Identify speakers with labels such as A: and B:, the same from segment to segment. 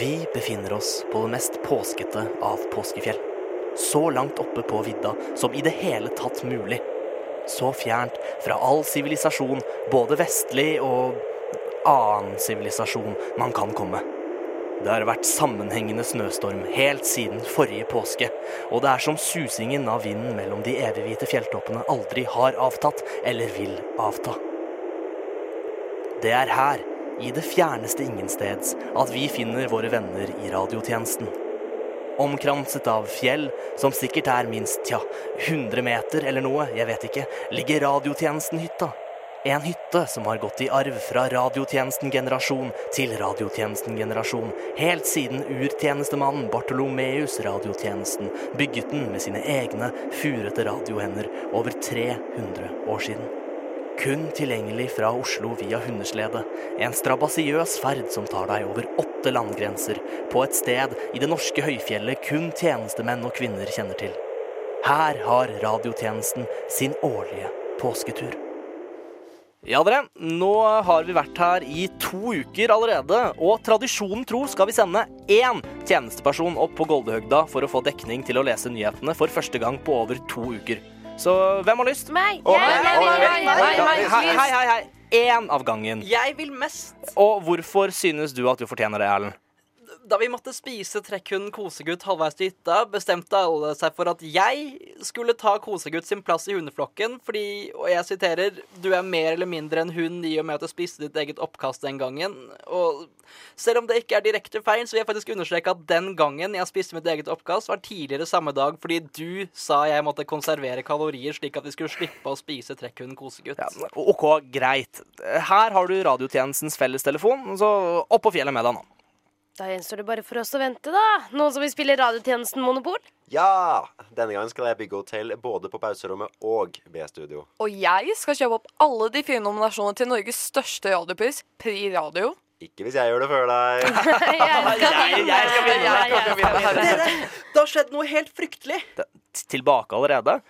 A: Vi befinner oss på det mest påskete av påskefjell. Så langt oppe på vidda som i det hele tatt mulig. Så fjernt fra all sivilisasjon, både vestlig og annen sivilisasjon man kan komme. Det har vært sammenhengende snøstorm helt siden forrige påske, og det er som susingen av vinden mellom de evighvite fjelltoppene aldri har avtatt eller vil avta. Det er her, i det fjerneste ingensteds, at vi finner våre venner i radiotjenesten. Omkranset av fjell, som sikkert er minst tja, 100 meter eller noe, jeg vet ikke, ligger radiotjenestenhytta. En hytte som har gått i arv fra radiotjenesten-generasjon til radiotjenesten-generasjon, helt siden urtjenestemannen Bartolomeus radiotjenesten bygget den med sine egne furete radiohender over 300 år siden. Kun tilgjengelig fra Oslo via Hundesledet. En strabasiøs ferd som tar deg over åtte landgrenser, på et sted i det norske høyfjellet kun tjenestemenn og kvinner kjenner til. Her har radiotjenesten sin årlige påsketur. Ja, dere. Nå har vi vært her i to uker allerede, og tradisjonen tro skal vi sende én tjenesteperson opp på Goldehøgda for å få dekning til å lese nyhetene for første gang på over to uker. Så hvem har lyst?
B: Meg!
A: Og-
B: Jeg- jeg-
A: og-
B: jeg- jeg-
A: Nei,
B: jeg-
A: nei,
B: jeg-
A: Hei, hei, hei, hei. Én av gangen.
C: Jeg vil mest,
A: Og hvorfor synes du at du fortjener det, Erlend?
C: da vi måtte spise trekkhunden Kosegutt halvveis til hytta, bestemte alle seg for at jeg skulle ta Kosegutt sin plass i hundeflokken, fordi, og jeg siterer, du er mer eller mindre en hund i og med at du spiste ditt eget oppkast den gangen. Og selv om det ikke er direkte feil, så vil jeg faktisk understreke at den gangen jeg spiste mitt eget oppkast, var tidligere samme dag fordi du sa jeg måtte konservere kalorier slik at vi skulle slippe å spise trekkhunden Kosegutt.
A: OK, greit. Her har du radiotjenestens fellestelefon, så opp på fjellet med deg nå.
B: Da gjenstår det bare for oss å vente, da. Noen som vil spille radiotjenesten Monopol?
D: Ja! Denne gangen skal jeg bygge hotell både på pauserommet og B-studio.
E: Og jeg skal kjøpe opp alle de fire nominasjonene til Norges største radiopris, Pri Radio.
D: Ikke hvis jeg gjør det før deg.
B: Jeg skal
A: Jeg- jeg skal vinne.
B: Jeg- jeg skal vinne.
C: Det har skjedd noe helt fryktelig.
A: T- Tilbake allerede.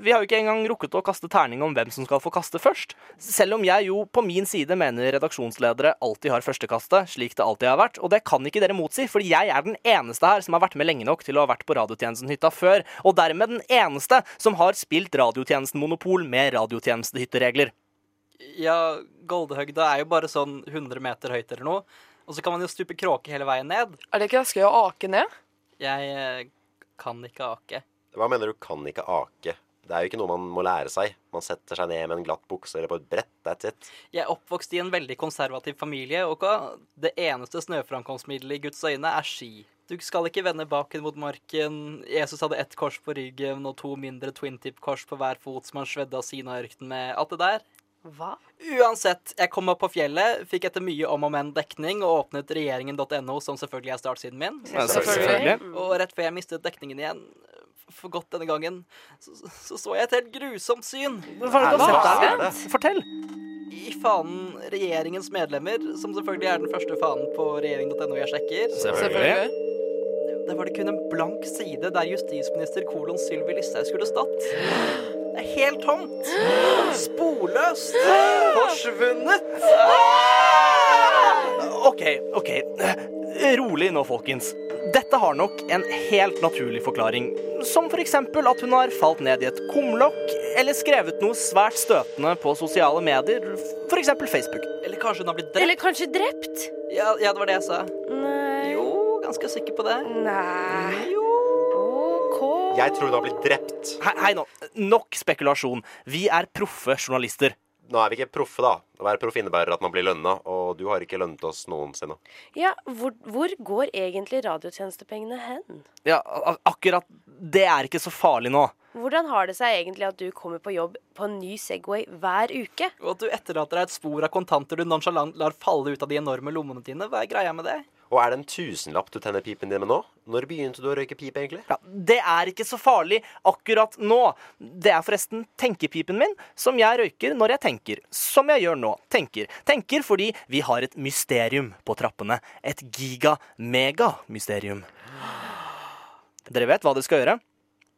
A: Vi har jo ikke engang rukket å kaste terning om hvem som skal få kaste først. Selv om jeg jo på min side mener redaksjonsledere alltid har førstekastet, slik det alltid har vært, og det kan ikke dere motsi, fordi jeg er den eneste her som har vært med lenge nok til å ha vært på radiotjenestenhytta før, og dermed den eneste som har spilt radiotjenestenmonopol med radiotjenestehytteregler.
C: Ja, Goldehøgda er jo bare sånn 100 meter høyt eller noe. Og så kan man jo stupe kråke hele veien ned.
E: Er det ikke raskere å ake ned?
C: Jeg eh, kan ikke ake.
D: Hva mener du kan ikke ake? Det er jo ikke noe man må lære seg. Man setter seg ned med en glatt bukse eller på et brett. That's it.
C: Jeg er oppvokst i en veldig konservativ familie, og hva- det eneste snøframkomstmiddelet i Guds øyne er ski. Du skal ikke vende baken mot marken. Jesus hadde ett kors på ryggen og to mindre twintip-kors på hver fot som han svedde av Sinai-ørkenen med. Alt det der.
B: Hva?
C: Uansett, jeg kom opp på fjellet, fikk etter mye om og men dekning, og åpnet regjeringen.no, som selvfølgelig er startsiden min.
E: Selvfølgelig.
C: Mm. Og rett før jeg mistet dekningen igjen, eh, for godt denne gangen, så så, så jeg et helt grusomt syn.
A: Hva er det du har sett der? Fortell.
C: I fanen regjeringens medlemmer, som selvfølgelig er den første fanen på regjeringen.no jeg sjekker,
E: Selvfølgelig.
C: der var det kun en blank side der justisminister kolon Sylvi Listhaug skulle stått. Det er helt tomt. Sporløst. Forsvunnet.
A: OK, OK. Rolig nå, folkens. Dette har nok en helt naturlig forklaring. Som f.eks. at hun har falt ned i et kumlokk eller skrevet noe svært støtende på sosiale medier, f.eks. Facebook.
C: Eller kanskje hun har blitt
B: Eller
C: drept?
B: kanskje drept?
C: Ja, ja, det var det jeg sa.
B: Nei.
C: Jo, ganske sikker på det.
B: Nei.
C: Jo.
B: OK.
D: Jeg tror du har blitt drept.
A: Hei, hei nå. Nok spekulasjon. Vi er proffe journalister.
D: Nå er vi ikke proffe, da. Å være proff innebærer at man blir lønna, og du har ikke lønnet oss noensinne.
B: Ja, hvor, hvor går egentlig radiotjenestepengene hen?
A: Ja, a- a- akkurat Det er ikke så farlig nå.
B: Hvordan har det seg egentlig at du kommer på jobb på en ny Segway hver uke?
C: Og at du etterlater deg et spor av kontanter du nonchalant lar falle ut av de enorme lommene dine. Hva er greia med det?
D: Og er det en tusenlapp du tenner pipen din med nå? Når begynte du å røyke pipe, egentlig?
A: Ja, det er ikke så farlig akkurat nå. Det er forresten tenkepipen min, som jeg røyker når jeg tenker. Som jeg gjør nå. Tenker. Tenker fordi vi har et mysterium på trappene. Et giga-mega-mysterium. Dere vet hva dere skal gjøre?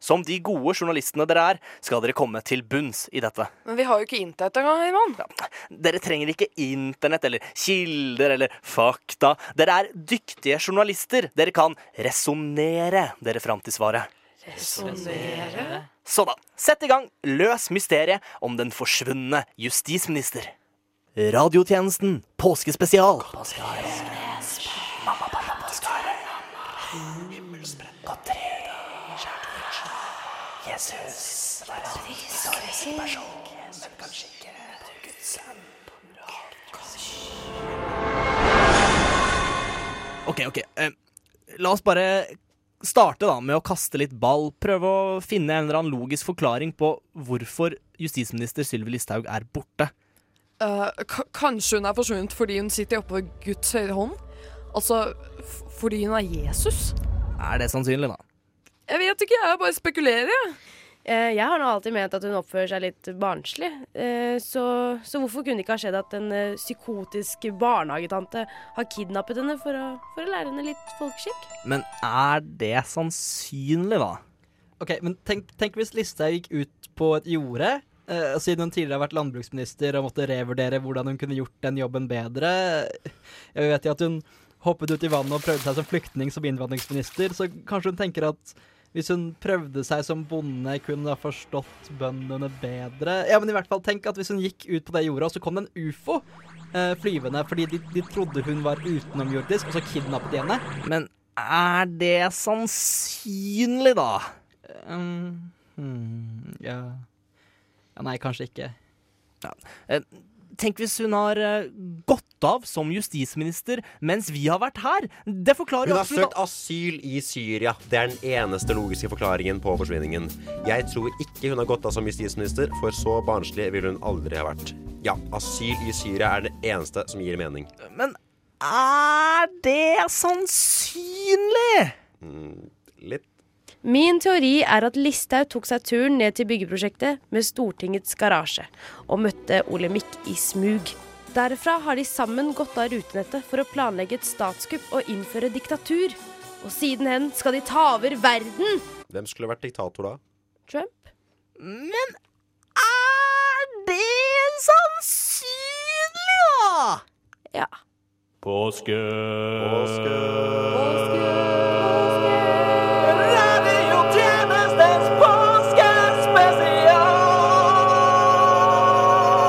A: Som de gode journalistene dere er, skal dere komme til bunns i dette.
E: Men vi har jo ikke internett engang, Herman.
A: Dere trenger ikke internett eller kilder eller fakta. Dere er dyktige journalister. Dere kan resonnere dere fram til svaret.
E: Resonnere?
A: Så da, sett i gang, løs mysteriet om den forsvunne justisminister. Radiotjenesten påskespesial. Mamma, pappa, påskehare. Godt tre. Jesus var en historisk person, men kanskje ikke Guds sønn. Ok, ok. eh, la oss bare starte da med å kaste litt ball. Prøve å finne en eller annen logisk forklaring på hvorfor justisminister Sylvi Listhaug er borte.
E: Eh, ka- kanskje hun er forsvunnet fordi hun sitter oppe ved Guds høyre hånd? Altså f fordi hun er Jesus?
A: Er det sannsynlig, da?
E: Jeg vet ikke, jeg bare spekulerer. jeg.
B: Eh, jeg har nå alltid ment at hun oppfører seg litt barnslig. Eh, så, så hvorfor kunne det ikke ha skjedd at en eh, psykotisk barnehagetante har kidnappet henne for å, for å lære henne litt folkeskikk?
A: Men er det sannsynlig, da?
C: Ok, men tenk, tenk hvis Listhaug gikk ut på et jorde, eh, siden hun tidligere har vært landbruksminister og måtte revurdere hvordan hun kunne gjort den jobben bedre. Jeg vet jo at hun hoppet ut i vannet og prøvde seg som flyktning som innvandringsminister, så kanskje hun tenker at hvis hun prøvde seg som bonde, kunne hun ha forstått bøndene bedre. Ja, men i hvert fall, tenk at hvis hun gikk ut på det jordet, og så kom det en ufo eh, flyvende, fordi de, de trodde hun var utenomjordisk, og så kidnappet de henne.
A: Men er det sannsynlig, da?
C: Um, hmm, ja. ja Nei, kanskje ikke.
A: Eh, Tenk hvis hun har eh, gått av som justisminister mens vi har vært her. Det forklarer
D: Hun
A: jo
D: har
A: absolutt
D: søkt asyl i Syria. Det er den eneste logiske forklaringen på forsvinningen. Jeg tror ikke hun har gått av som justisminister, for så barnslig ville hun aldri ha vært. Ja, asyl i Syria er det eneste som gir mening.
A: Men er det sannsynlig?
D: Litt
B: Min teori er at Listhaug tok seg turen ned til byggeprosjektet med Stortingets garasje og møtte Olemic i smug. Derfra har de sammen gått av rutenettet for å planlegge et statskupp og innføre diktatur. Og siden hen skal de ta over verden!
D: Hvem skulle vært diktator da?
B: Trump.
A: Men er det sannsynlig, da?
B: Ja.
C: Radiotjenestens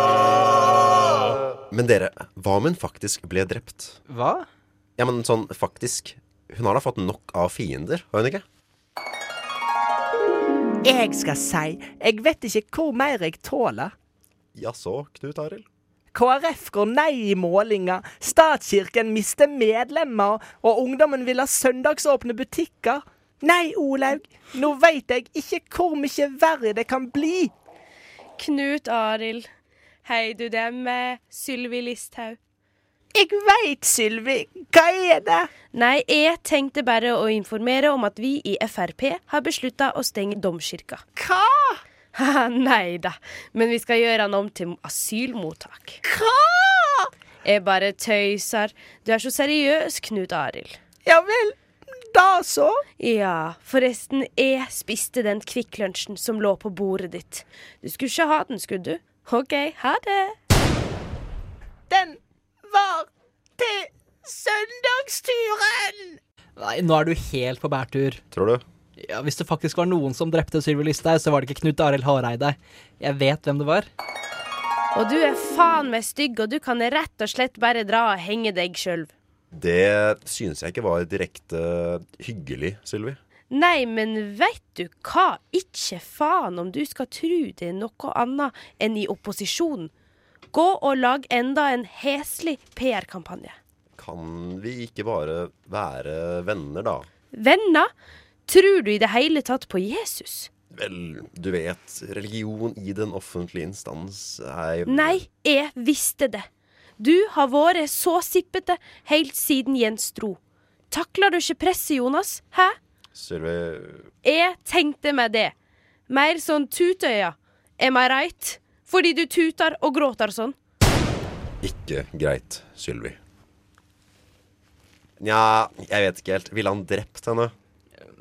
C: påskespesial!
D: Men dere, hva om hun faktisk ble drept?
C: Hva?
D: Ja, men sånn faktisk Hun har da fått nok av fiender, har hun ikke?
A: Jeg skal si, jeg vet ikke hvor mer jeg tåler.
D: Jaså, Knut Arild?
A: KrF går nei i målinger, statskirken mister medlemmer, og ungdommen vil ha søndagsåpne butikker. Nei, Olaug, nå veit jeg ikke hvor mye verre det kan bli.
B: Knut Arild. Hei, du, det er meg, Sylvi Listhaug.
A: Jeg veit, Sylvi, hva er det?
B: Nei, jeg tenkte bare å informere om at vi i Frp har beslutta å stenge domkirka.
A: Hva?
B: Haha, Nei da, men vi skal gjøre han om til asylmottak.
A: Hva?
B: Jeg bare tøyser. Du er så seriøs, Knut Arild.
A: Ja vel, da så.
B: Ja, forresten, jeg spiste den Kvikk Lunsjen som lå på bordet ditt. Du skulle ikke ha den, skulle du? OK, ha det.
A: Den var til søndagsturen.
C: Nei, nå er du helt på bærtur.
D: Tror du?
C: Ja, Hvis det faktisk var noen som drepte Sylvi Listhaug, så var det ikke Knut Arild Hareide. Jeg vet hvem det var.
B: Og du er faen meg stygg, og du kan rett og slett bare dra og henge deg sjøl.
D: Det synes jeg ikke var direkte hyggelig, Sylvi.
B: Nei, men veit du hva? Ikke faen om du skal tru det er noe annet enn i opposisjon. Gå og lag enda en heslig PR-kampanje.
D: Kan vi ikke bare være venner, da?
B: Venner, tror du i det hele tatt på Jesus?
D: Vel, du vet, religion i den offentlige instans er jo
B: Nei, jeg visste det. Du har vært så sippete helt siden Jens dro. Takler du ikke presset, Jonas? Hæ?
D: Sylvi
B: Jeg tenkte meg det. Mer sånn tutøya. Am I right? Fordi du tuter og gråter sånn.
D: Ikke greit, Sylvi. Nja, jeg vet ikke helt. Ville han drept henne?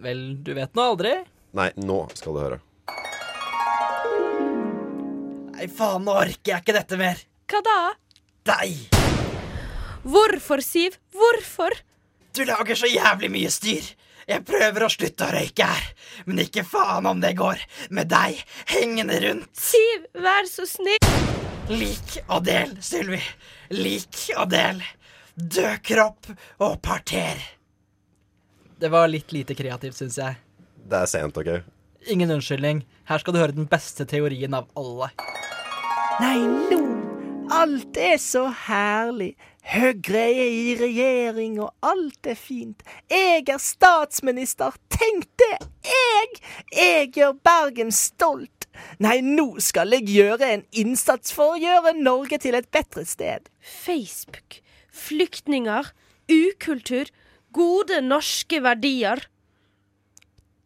C: Vel, du vet nå aldri.
D: Nei, nå skal du høre.
C: Nei, faen, nå orker jeg ikke dette mer.
B: Hva da?
C: Deg!
B: Hvorfor, Siv? Hvorfor?
C: Du lager så jævlig mye styr. Jeg prøver å slutte å røyke her, men ikke faen om det går med deg hengende rundt.
B: Siv, vær så snill.
C: Lik og del, Sylvi. Lik og del. Død kropp og parter. Det var litt lite kreativt, syns jeg.
D: Det er sent, OK?
C: Ingen unnskyldning. Her skal du høre den beste teorien av alle.
F: Nei, nå! Alt er så herlig. Høyre er i regjering, og alt er fint. Jeg er statsminister, tenk det! Jeg! Jeg gjør Bergen stolt. Nei, nå skal jeg gjøre en innsats for å gjøre Norge til et bedre sted.
B: Facebook, flyktninger, ukultur, gode norske verdier.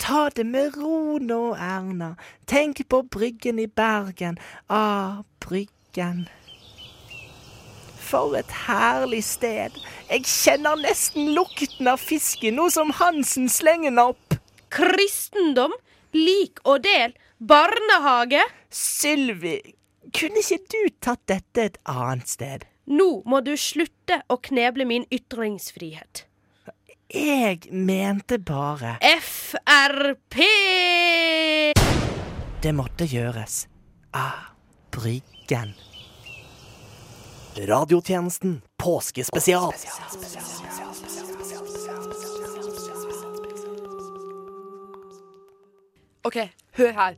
F: Ta det med ro nå, Erna. Tenk på Bryggen i Bergen. Ah, Bryggen. For et herlig sted. Jeg kjenner nesten lukten av fisken nå som Hansen slenger den opp.
B: Kristendom, lik og del, barnehage.
F: Sylvi, kunne ikke du tatt dette et annet sted?
B: Nå må du slutte å kneble min ytringsfrihet.
F: Jeg mente bare
B: FRP!
F: det måtte gjøres. Ah, Bryggen.
A: Radiotjenesten påskespesial.
E: OK, hør her.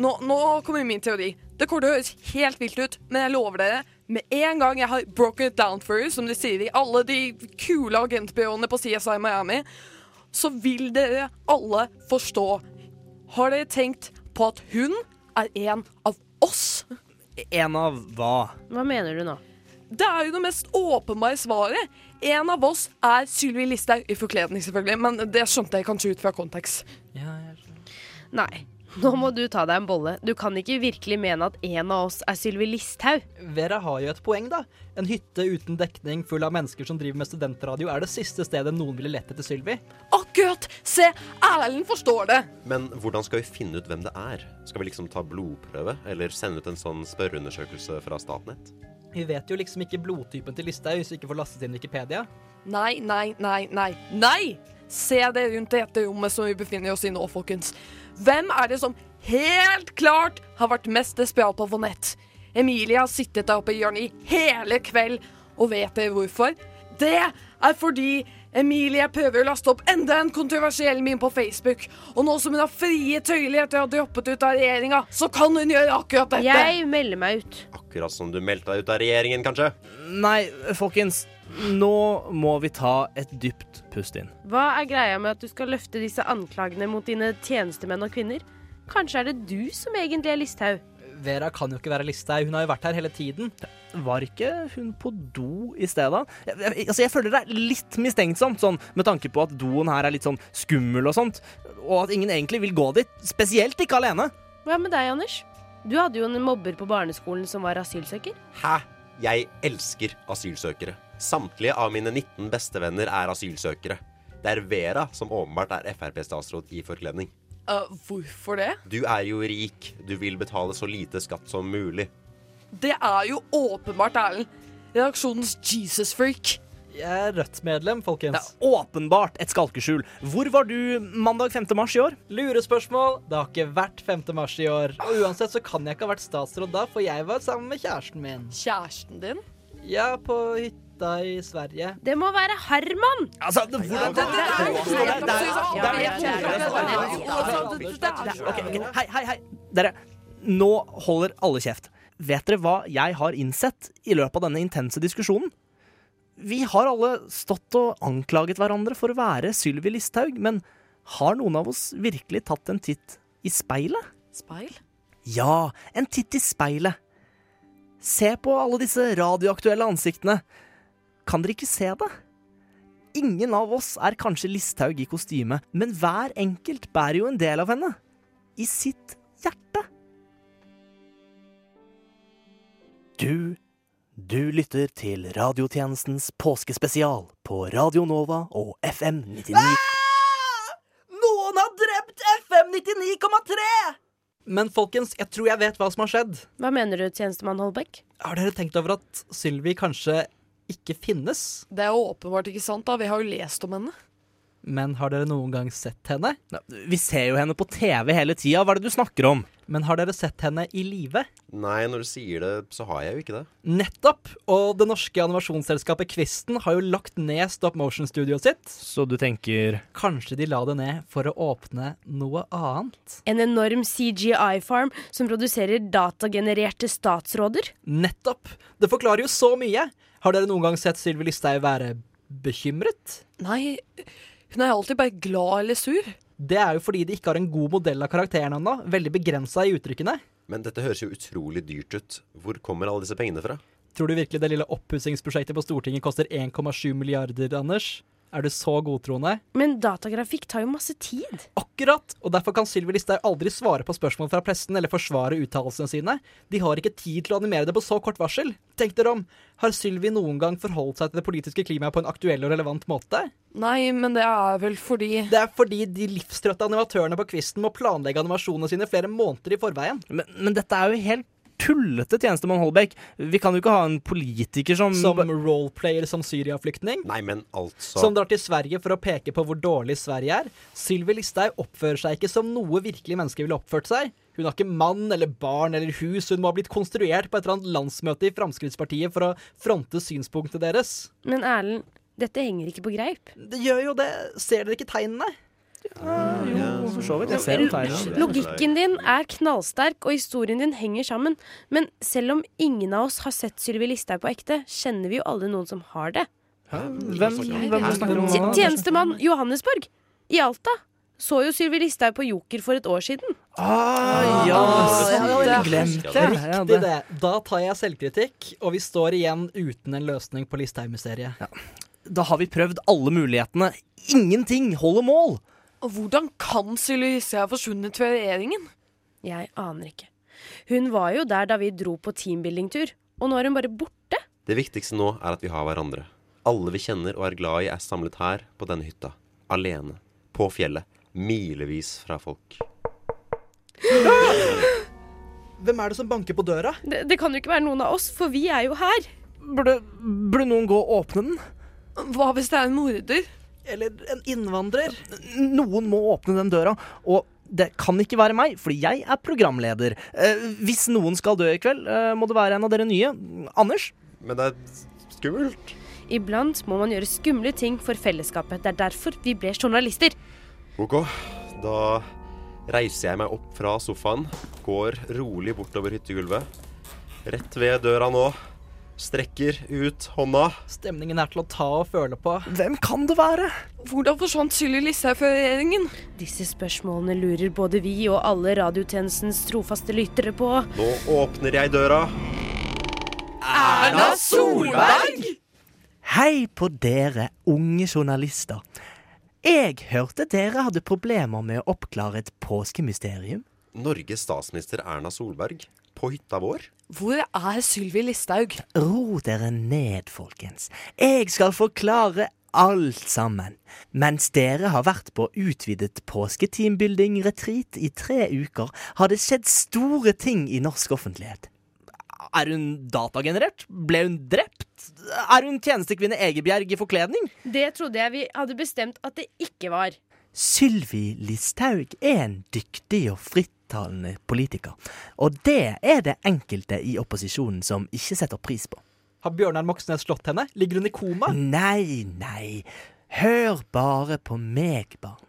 E: Nå, nå kommer min teori. Det kommer til å høres helt vilt ut, men jeg lover dere, med en gang jeg har broken it down for you, som de sier i alle de kule agentbyråene på CSI Miami, så vil dere alle forstå. Har dere tenkt på at hun er en av oss?
A: En av hva?
B: Hva mener du nå?
E: Det er jo det mest åpenbare svaret. En av oss er Sylvi Listhaug i forkledning, selvfølgelig, men det skjønte jeg kanskje ut fra kontekst.
B: Nei, nå må du ta deg en bolle. Du kan ikke virkelig mene at en av oss er Sylvi Listhaug.
C: Vera har jo et poeng, da. En hytte uten dekning full av mennesker som driver med studentradio, er det siste stedet noen ville lett etter Sylvi.
E: Akkurat! Se, Erlend forstår det.
D: Men hvordan skal vi finne ut hvem det er? Skal vi liksom ta blodprøve, eller sende ut en sånn spørreundersøkelse fra Statnett?
C: Vi vet jo liksom ikke blodtypen til Listhaug, så ikke får lastet inn Wikipedia.
E: Nei, nei, nei, nei. Nei! Se det rundt dette rommet som vi befinner oss i nå, folkens. Hvem er det som helt klart har vært mest desperat på å få nett? Emilie har sittet der oppe i hjørnet i hele kveld, og vet dere hvorfor? Det er fordi Emilie prøver å laste opp enda en kontroversiell meme på Facebook. Og nå som hun har frie tøyler etter å ha droppet ut av regjeringa, så kan hun gjøre akkurat dette.
B: Jeg melder meg ut.
D: Akkurat som du meldte deg ut av regjeringen, kanskje?
A: Nei, folkens. Nå må vi ta et dypt pust inn.
B: Hva er greia med at du skal løfte disse anklagene mot dine tjenestemenn og kvinner? Kanskje er det du som egentlig er Listhaug?
C: Vera kan jo ikke være Listhaug, hun har jo vært her hele tiden.
A: Var ikke hun på do i stedet? Jeg, jeg, altså, jeg føler det er litt mistenksomt, sånn, med tanke på at doen her er litt sånn skummel og sånt, og at ingen egentlig vil gå dit. Spesielt ikke alene.
B: Hva med deg, Anders? Du hadde jo en mobber på barneskolen som var asylsøker.
D: Hæ? Jeg elsker asylsøkere. Samtlige av mine 19 bestevenner er asylsøkere. Det er Vera som åpenbart er Frp-statsråd i forkledning.
E: Øh, hvorfor det?
D: Du er jo rik. Du vil betale så lite skatt som mulig.
E: Det er jo åpenbart Erlend. Redaksjonens Jesus-freak.
C: Jeg er Rødt-medlem,
A: Det
C: folkens.
A: er åpenbart et skalkeskjul. Hvor var du mandag 5. mars i år?
C: Lurespørsmål. Det har ikke vært 5. mars i år. Og uansett så kan jeg ikke ha vært statsråd da, for jeg var sammen med kjæresten min.
E: Kjæresten din?
C: Ja, på hytta i Sverige.
B: Det må være Herman!
A: Altså, hvordan
E: Det er
A: Ok, ok. Hei, hei, hei. Dere, nå holder alle kjeft. Vet dere hva jeg har innsett i løpet av denne intense diskusjonen? Vi har alle stått og anklaget hverandre for å være Sylvi Listhaug, men har noen av oss virkelig tatt en titt i speilet?
E: Speil?
A: Ja, en titt i speilet. Se på alle disse radioaktuelle ansiktene. Kan dere ikke se det? Ingen av oss er kanskje Listhaug i kostyme, men hver enkelt bærer jo en del av henne. I sitt hjerte. Du Du lytter til radiotjenestens Ah! påskespesial på Radio Nova og FM 99.
E: Nå
C: Noen har drept FM 99,3! Men folkens, jeg tror jeg vet hva som har skjedd.
B: Hva mener du, tjenestemann Holbæk?
C: Har dere tenkt over at Sylvi kanskje ikke finnes?
E: Det er åpenbart ikke sant, da. Vi har jo lest om henne.
C: Men har dere noen gang sett henne?
A: Vi ser jo henne på TV hele tida. Hva er det du snakker om?
C: Men har dere sett henne i live?
D: Nei, når du sier det, så har jeg jo ikke det.
C: Nettopp! Og det norske animasjonsselskapet Kvisten har jo lagt ned Stop Motion-studioet sitt.
A: Så du tenker
C: Kanskje de la det ned for å åpne noe annet?
B: En enorm CGI-farm som produserer datagenererte statsråder?
C: Nettopp! Det forklarer jo så mye. Har dere noen gang sett Sylvi Listhaug være bekymret?
E: Nei, hun er alltid bare glad eller sur.
C: Det er jo fordi de ikke har en god modell av karakteren ennå. Veldig begrensa i uttrykkene.
D: Men dette høres jo utrolig dyrt ut. Hvor kommer alle disse pengene fra?
C: Tror du virkelig det lille oppussingsprosjektet på Stortinget koster 1,7 milliarder, Anders? Er du så godtroende?
B: Men datagrafikk tar jo masse tid.
C: Akkurat! Og derfor kan Sylvi Listhaug aldri svare på spørsmål fra pressen eller forsvare uttalelsene sine. De har ikke tid til å animere det på så kort varsel. Tenk dere om! Har Sylvi noen gang forholdt seg til det politiske klimaet på en aktuell og relevant måte?
E: Nei, men det er vel fordi
C: Det er fordi de livstrøtte animatørene på kvisten må planlegge animasjonene sine flere måneder i forveien.
A: Men, men dette er jo helt tullete, tjenestemann Holbæk. Vi kan jo ikke ha en politiker som,
C: Som roleplayer som Syria-flyktning.
D: Nei, men altså
C: Som drar til Sverige for å peke på hvor dårlig Sverige er. Sylvi Listhaug oppfører seg ikke som noe virkelig menneske ville oppført seg. Hun har ikke mann eller barn eller hus, hun må ha blitt konstruert på et eller annet landsmøte i Fremskrittspartiet for å fronte synspunktet deres.
B: Men Erlend, dette henger ikke på greip.
C: Det gjør jo det. Ser dere ikke tegnene?
A: Jo, for så vidt. Jeg ser jo tegnene.
B: Logikken din er knallsterk, og historien din henger sammen. Men selv om ingen av oss har sett Sylvi Listhaug på ekte, kjenner vi jo alle noen som har det.
A: Hvem, hvem snakker du
B: Tje-
A: om? nå?
B: Tjenestemann Johannesborg i Alta så jo Sylvi Listhaug på Joker for et år siden.
A: Ah, ja,
E: jeg hadde
A: sånn.
D: glemt
A: Ja,
D: det.
A: ja,
C: Riktig det. Da tar jeg selvkritikk, og vi står igjen uten en løsning på Listhaug-mysteriet.
A: Da har vi prøvd alle mulighetene. Ingenting holder mål!
E: Og Hvordan kan Sylvi Listhaug ha forsvunnet fra regjeringen?
B: Jeg aner ikke. Hun var jo der da vi dro på teambuilding-tur, og nå er hun bare borte.
D: Det viktigste nå er at vi har hverandre. Alle vi kjenner og er glad i, er samlet her, på denne hytta. Alene. På fjellet. Milevis fra folk.
C: Hvem er det som banker på døra?
B: Det, det kan jo ikke være noen av oss, for vi er jo her.
A: Burde, burde noen gå og åpne den?
E: Hva hvis det er en morder?
C: Eller en innvandrer?
A: Noen må åpne den døra, og det kan ikke være meg, fordi jeg er programleder. Eh, hvis noen skal dø i kveld, eh, må det være en av dere nye. Anders?
D: Men det er skummelt.
B: Iblant må man gjøre skumle ting for fellesskapet. Det er derfor vi ble journalister.
D: Ok, da reiser jeg meg opp fra sofaen, går rolig bortover hyttegulvet. Rett ved døra nå. Strekker ut hånda.
C: Stemningen er til å ta og føle på.
A: Hvem kan det være?
E: Hvordan forsvant Sylvi Listhaug fra regjeringen?
B: Disse spørsmålene lurer både vi og alle radiotjenestens trofaste lyttere på.
D: Nå åpner jeg døra.
E: Erna Solberg!
A: Hei på dere, unge journalister. Jeg hørte dere hadde problemer med å oppklare et påskemysterium.
D: Norges statsminister Erna Solberg på hytta vår.
E: Hvor er Sylvi Listhaug?
A: Ro dere ned, folkens. Jeg skal forklare alt sammen. Mens dere har vært på utvidet påsketeambuilding-retreat i tre uker, har det skjedd store ting i norsk offentlighet. Er hun datagenerert? Ble hun drept? Er hun tjenestekvinne Egebjerg i forkledning?
B: Det trodde jeg vi hadde bestemt at det ikke var.
A: Sylvi Listhaug er en dyktig og frittalende politiker. Og det er det enkelte i opposisjonen som ikke setter pris på.
C: Har Bjørnar Moxnes slått henne? Ligger hun i koma?
A: Nei, nei. Hør bare på meg, barn.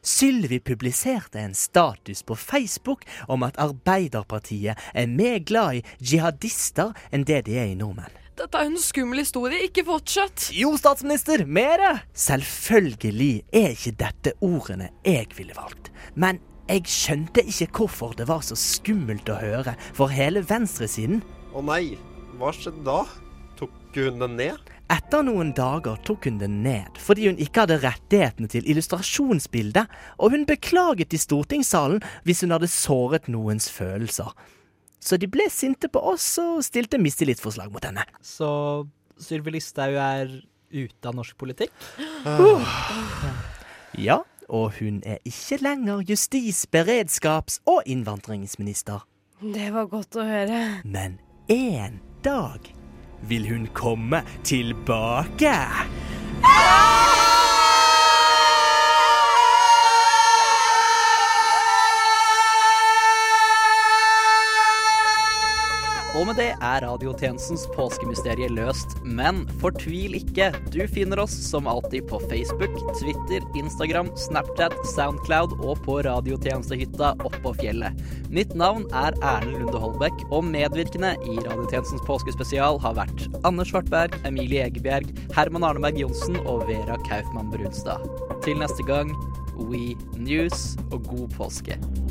A: Sylvi publiserte en status på Facebook om at Arbeiderpartiet er mer glad i jihadister enn det de er i nordmenn.
E: Dette er jo en skummel historie. Ikke fortsett.
A: Jo, statsminister, mere! Selvfølgelig er ikke dette ordene jeg ville valgt. Men jeg skjønte ikke hvorfor det var så skummelt å høre for hele venstresiden.
D: Å nei, hva skjedde da? Tok hun den ned?
A: Etter noen dager tok hun det ned fordi hun ikke hadde rettighetene til illustrasjonsbildet, og hun beklaget i stortingssalen hvis hun hadde såret noens følelser. Så de ble sinte på oss og stilte mistillitsforslag mot henne.
C: Så Sylvi Listhaug er ute av norsk politikk?
A: Ja, og hun er ikke lenger justis-, beredskaps- og innvandringsminister.
B: Det var godt å høre.
A: Men en dag vil hun komme tilbake.
C: Og med det er radiotjenestens påskemysterie løst. Men fortvil ikke. Du finner oss som alltid på Facebook, Twitter, Instagram, Snapchat, Soundcloud og på radiotjenestehytta oppå fjellet. Mitt navn er Erlend Lunde Holbæk, og medvirkende i radiotjenestens påskespesial har vært Anders Svartberg, Emilie Egebjerg, Herman Arneberg Johnsen og Vera Kaufmann Brunstad. Til neste gang, We News og god påske.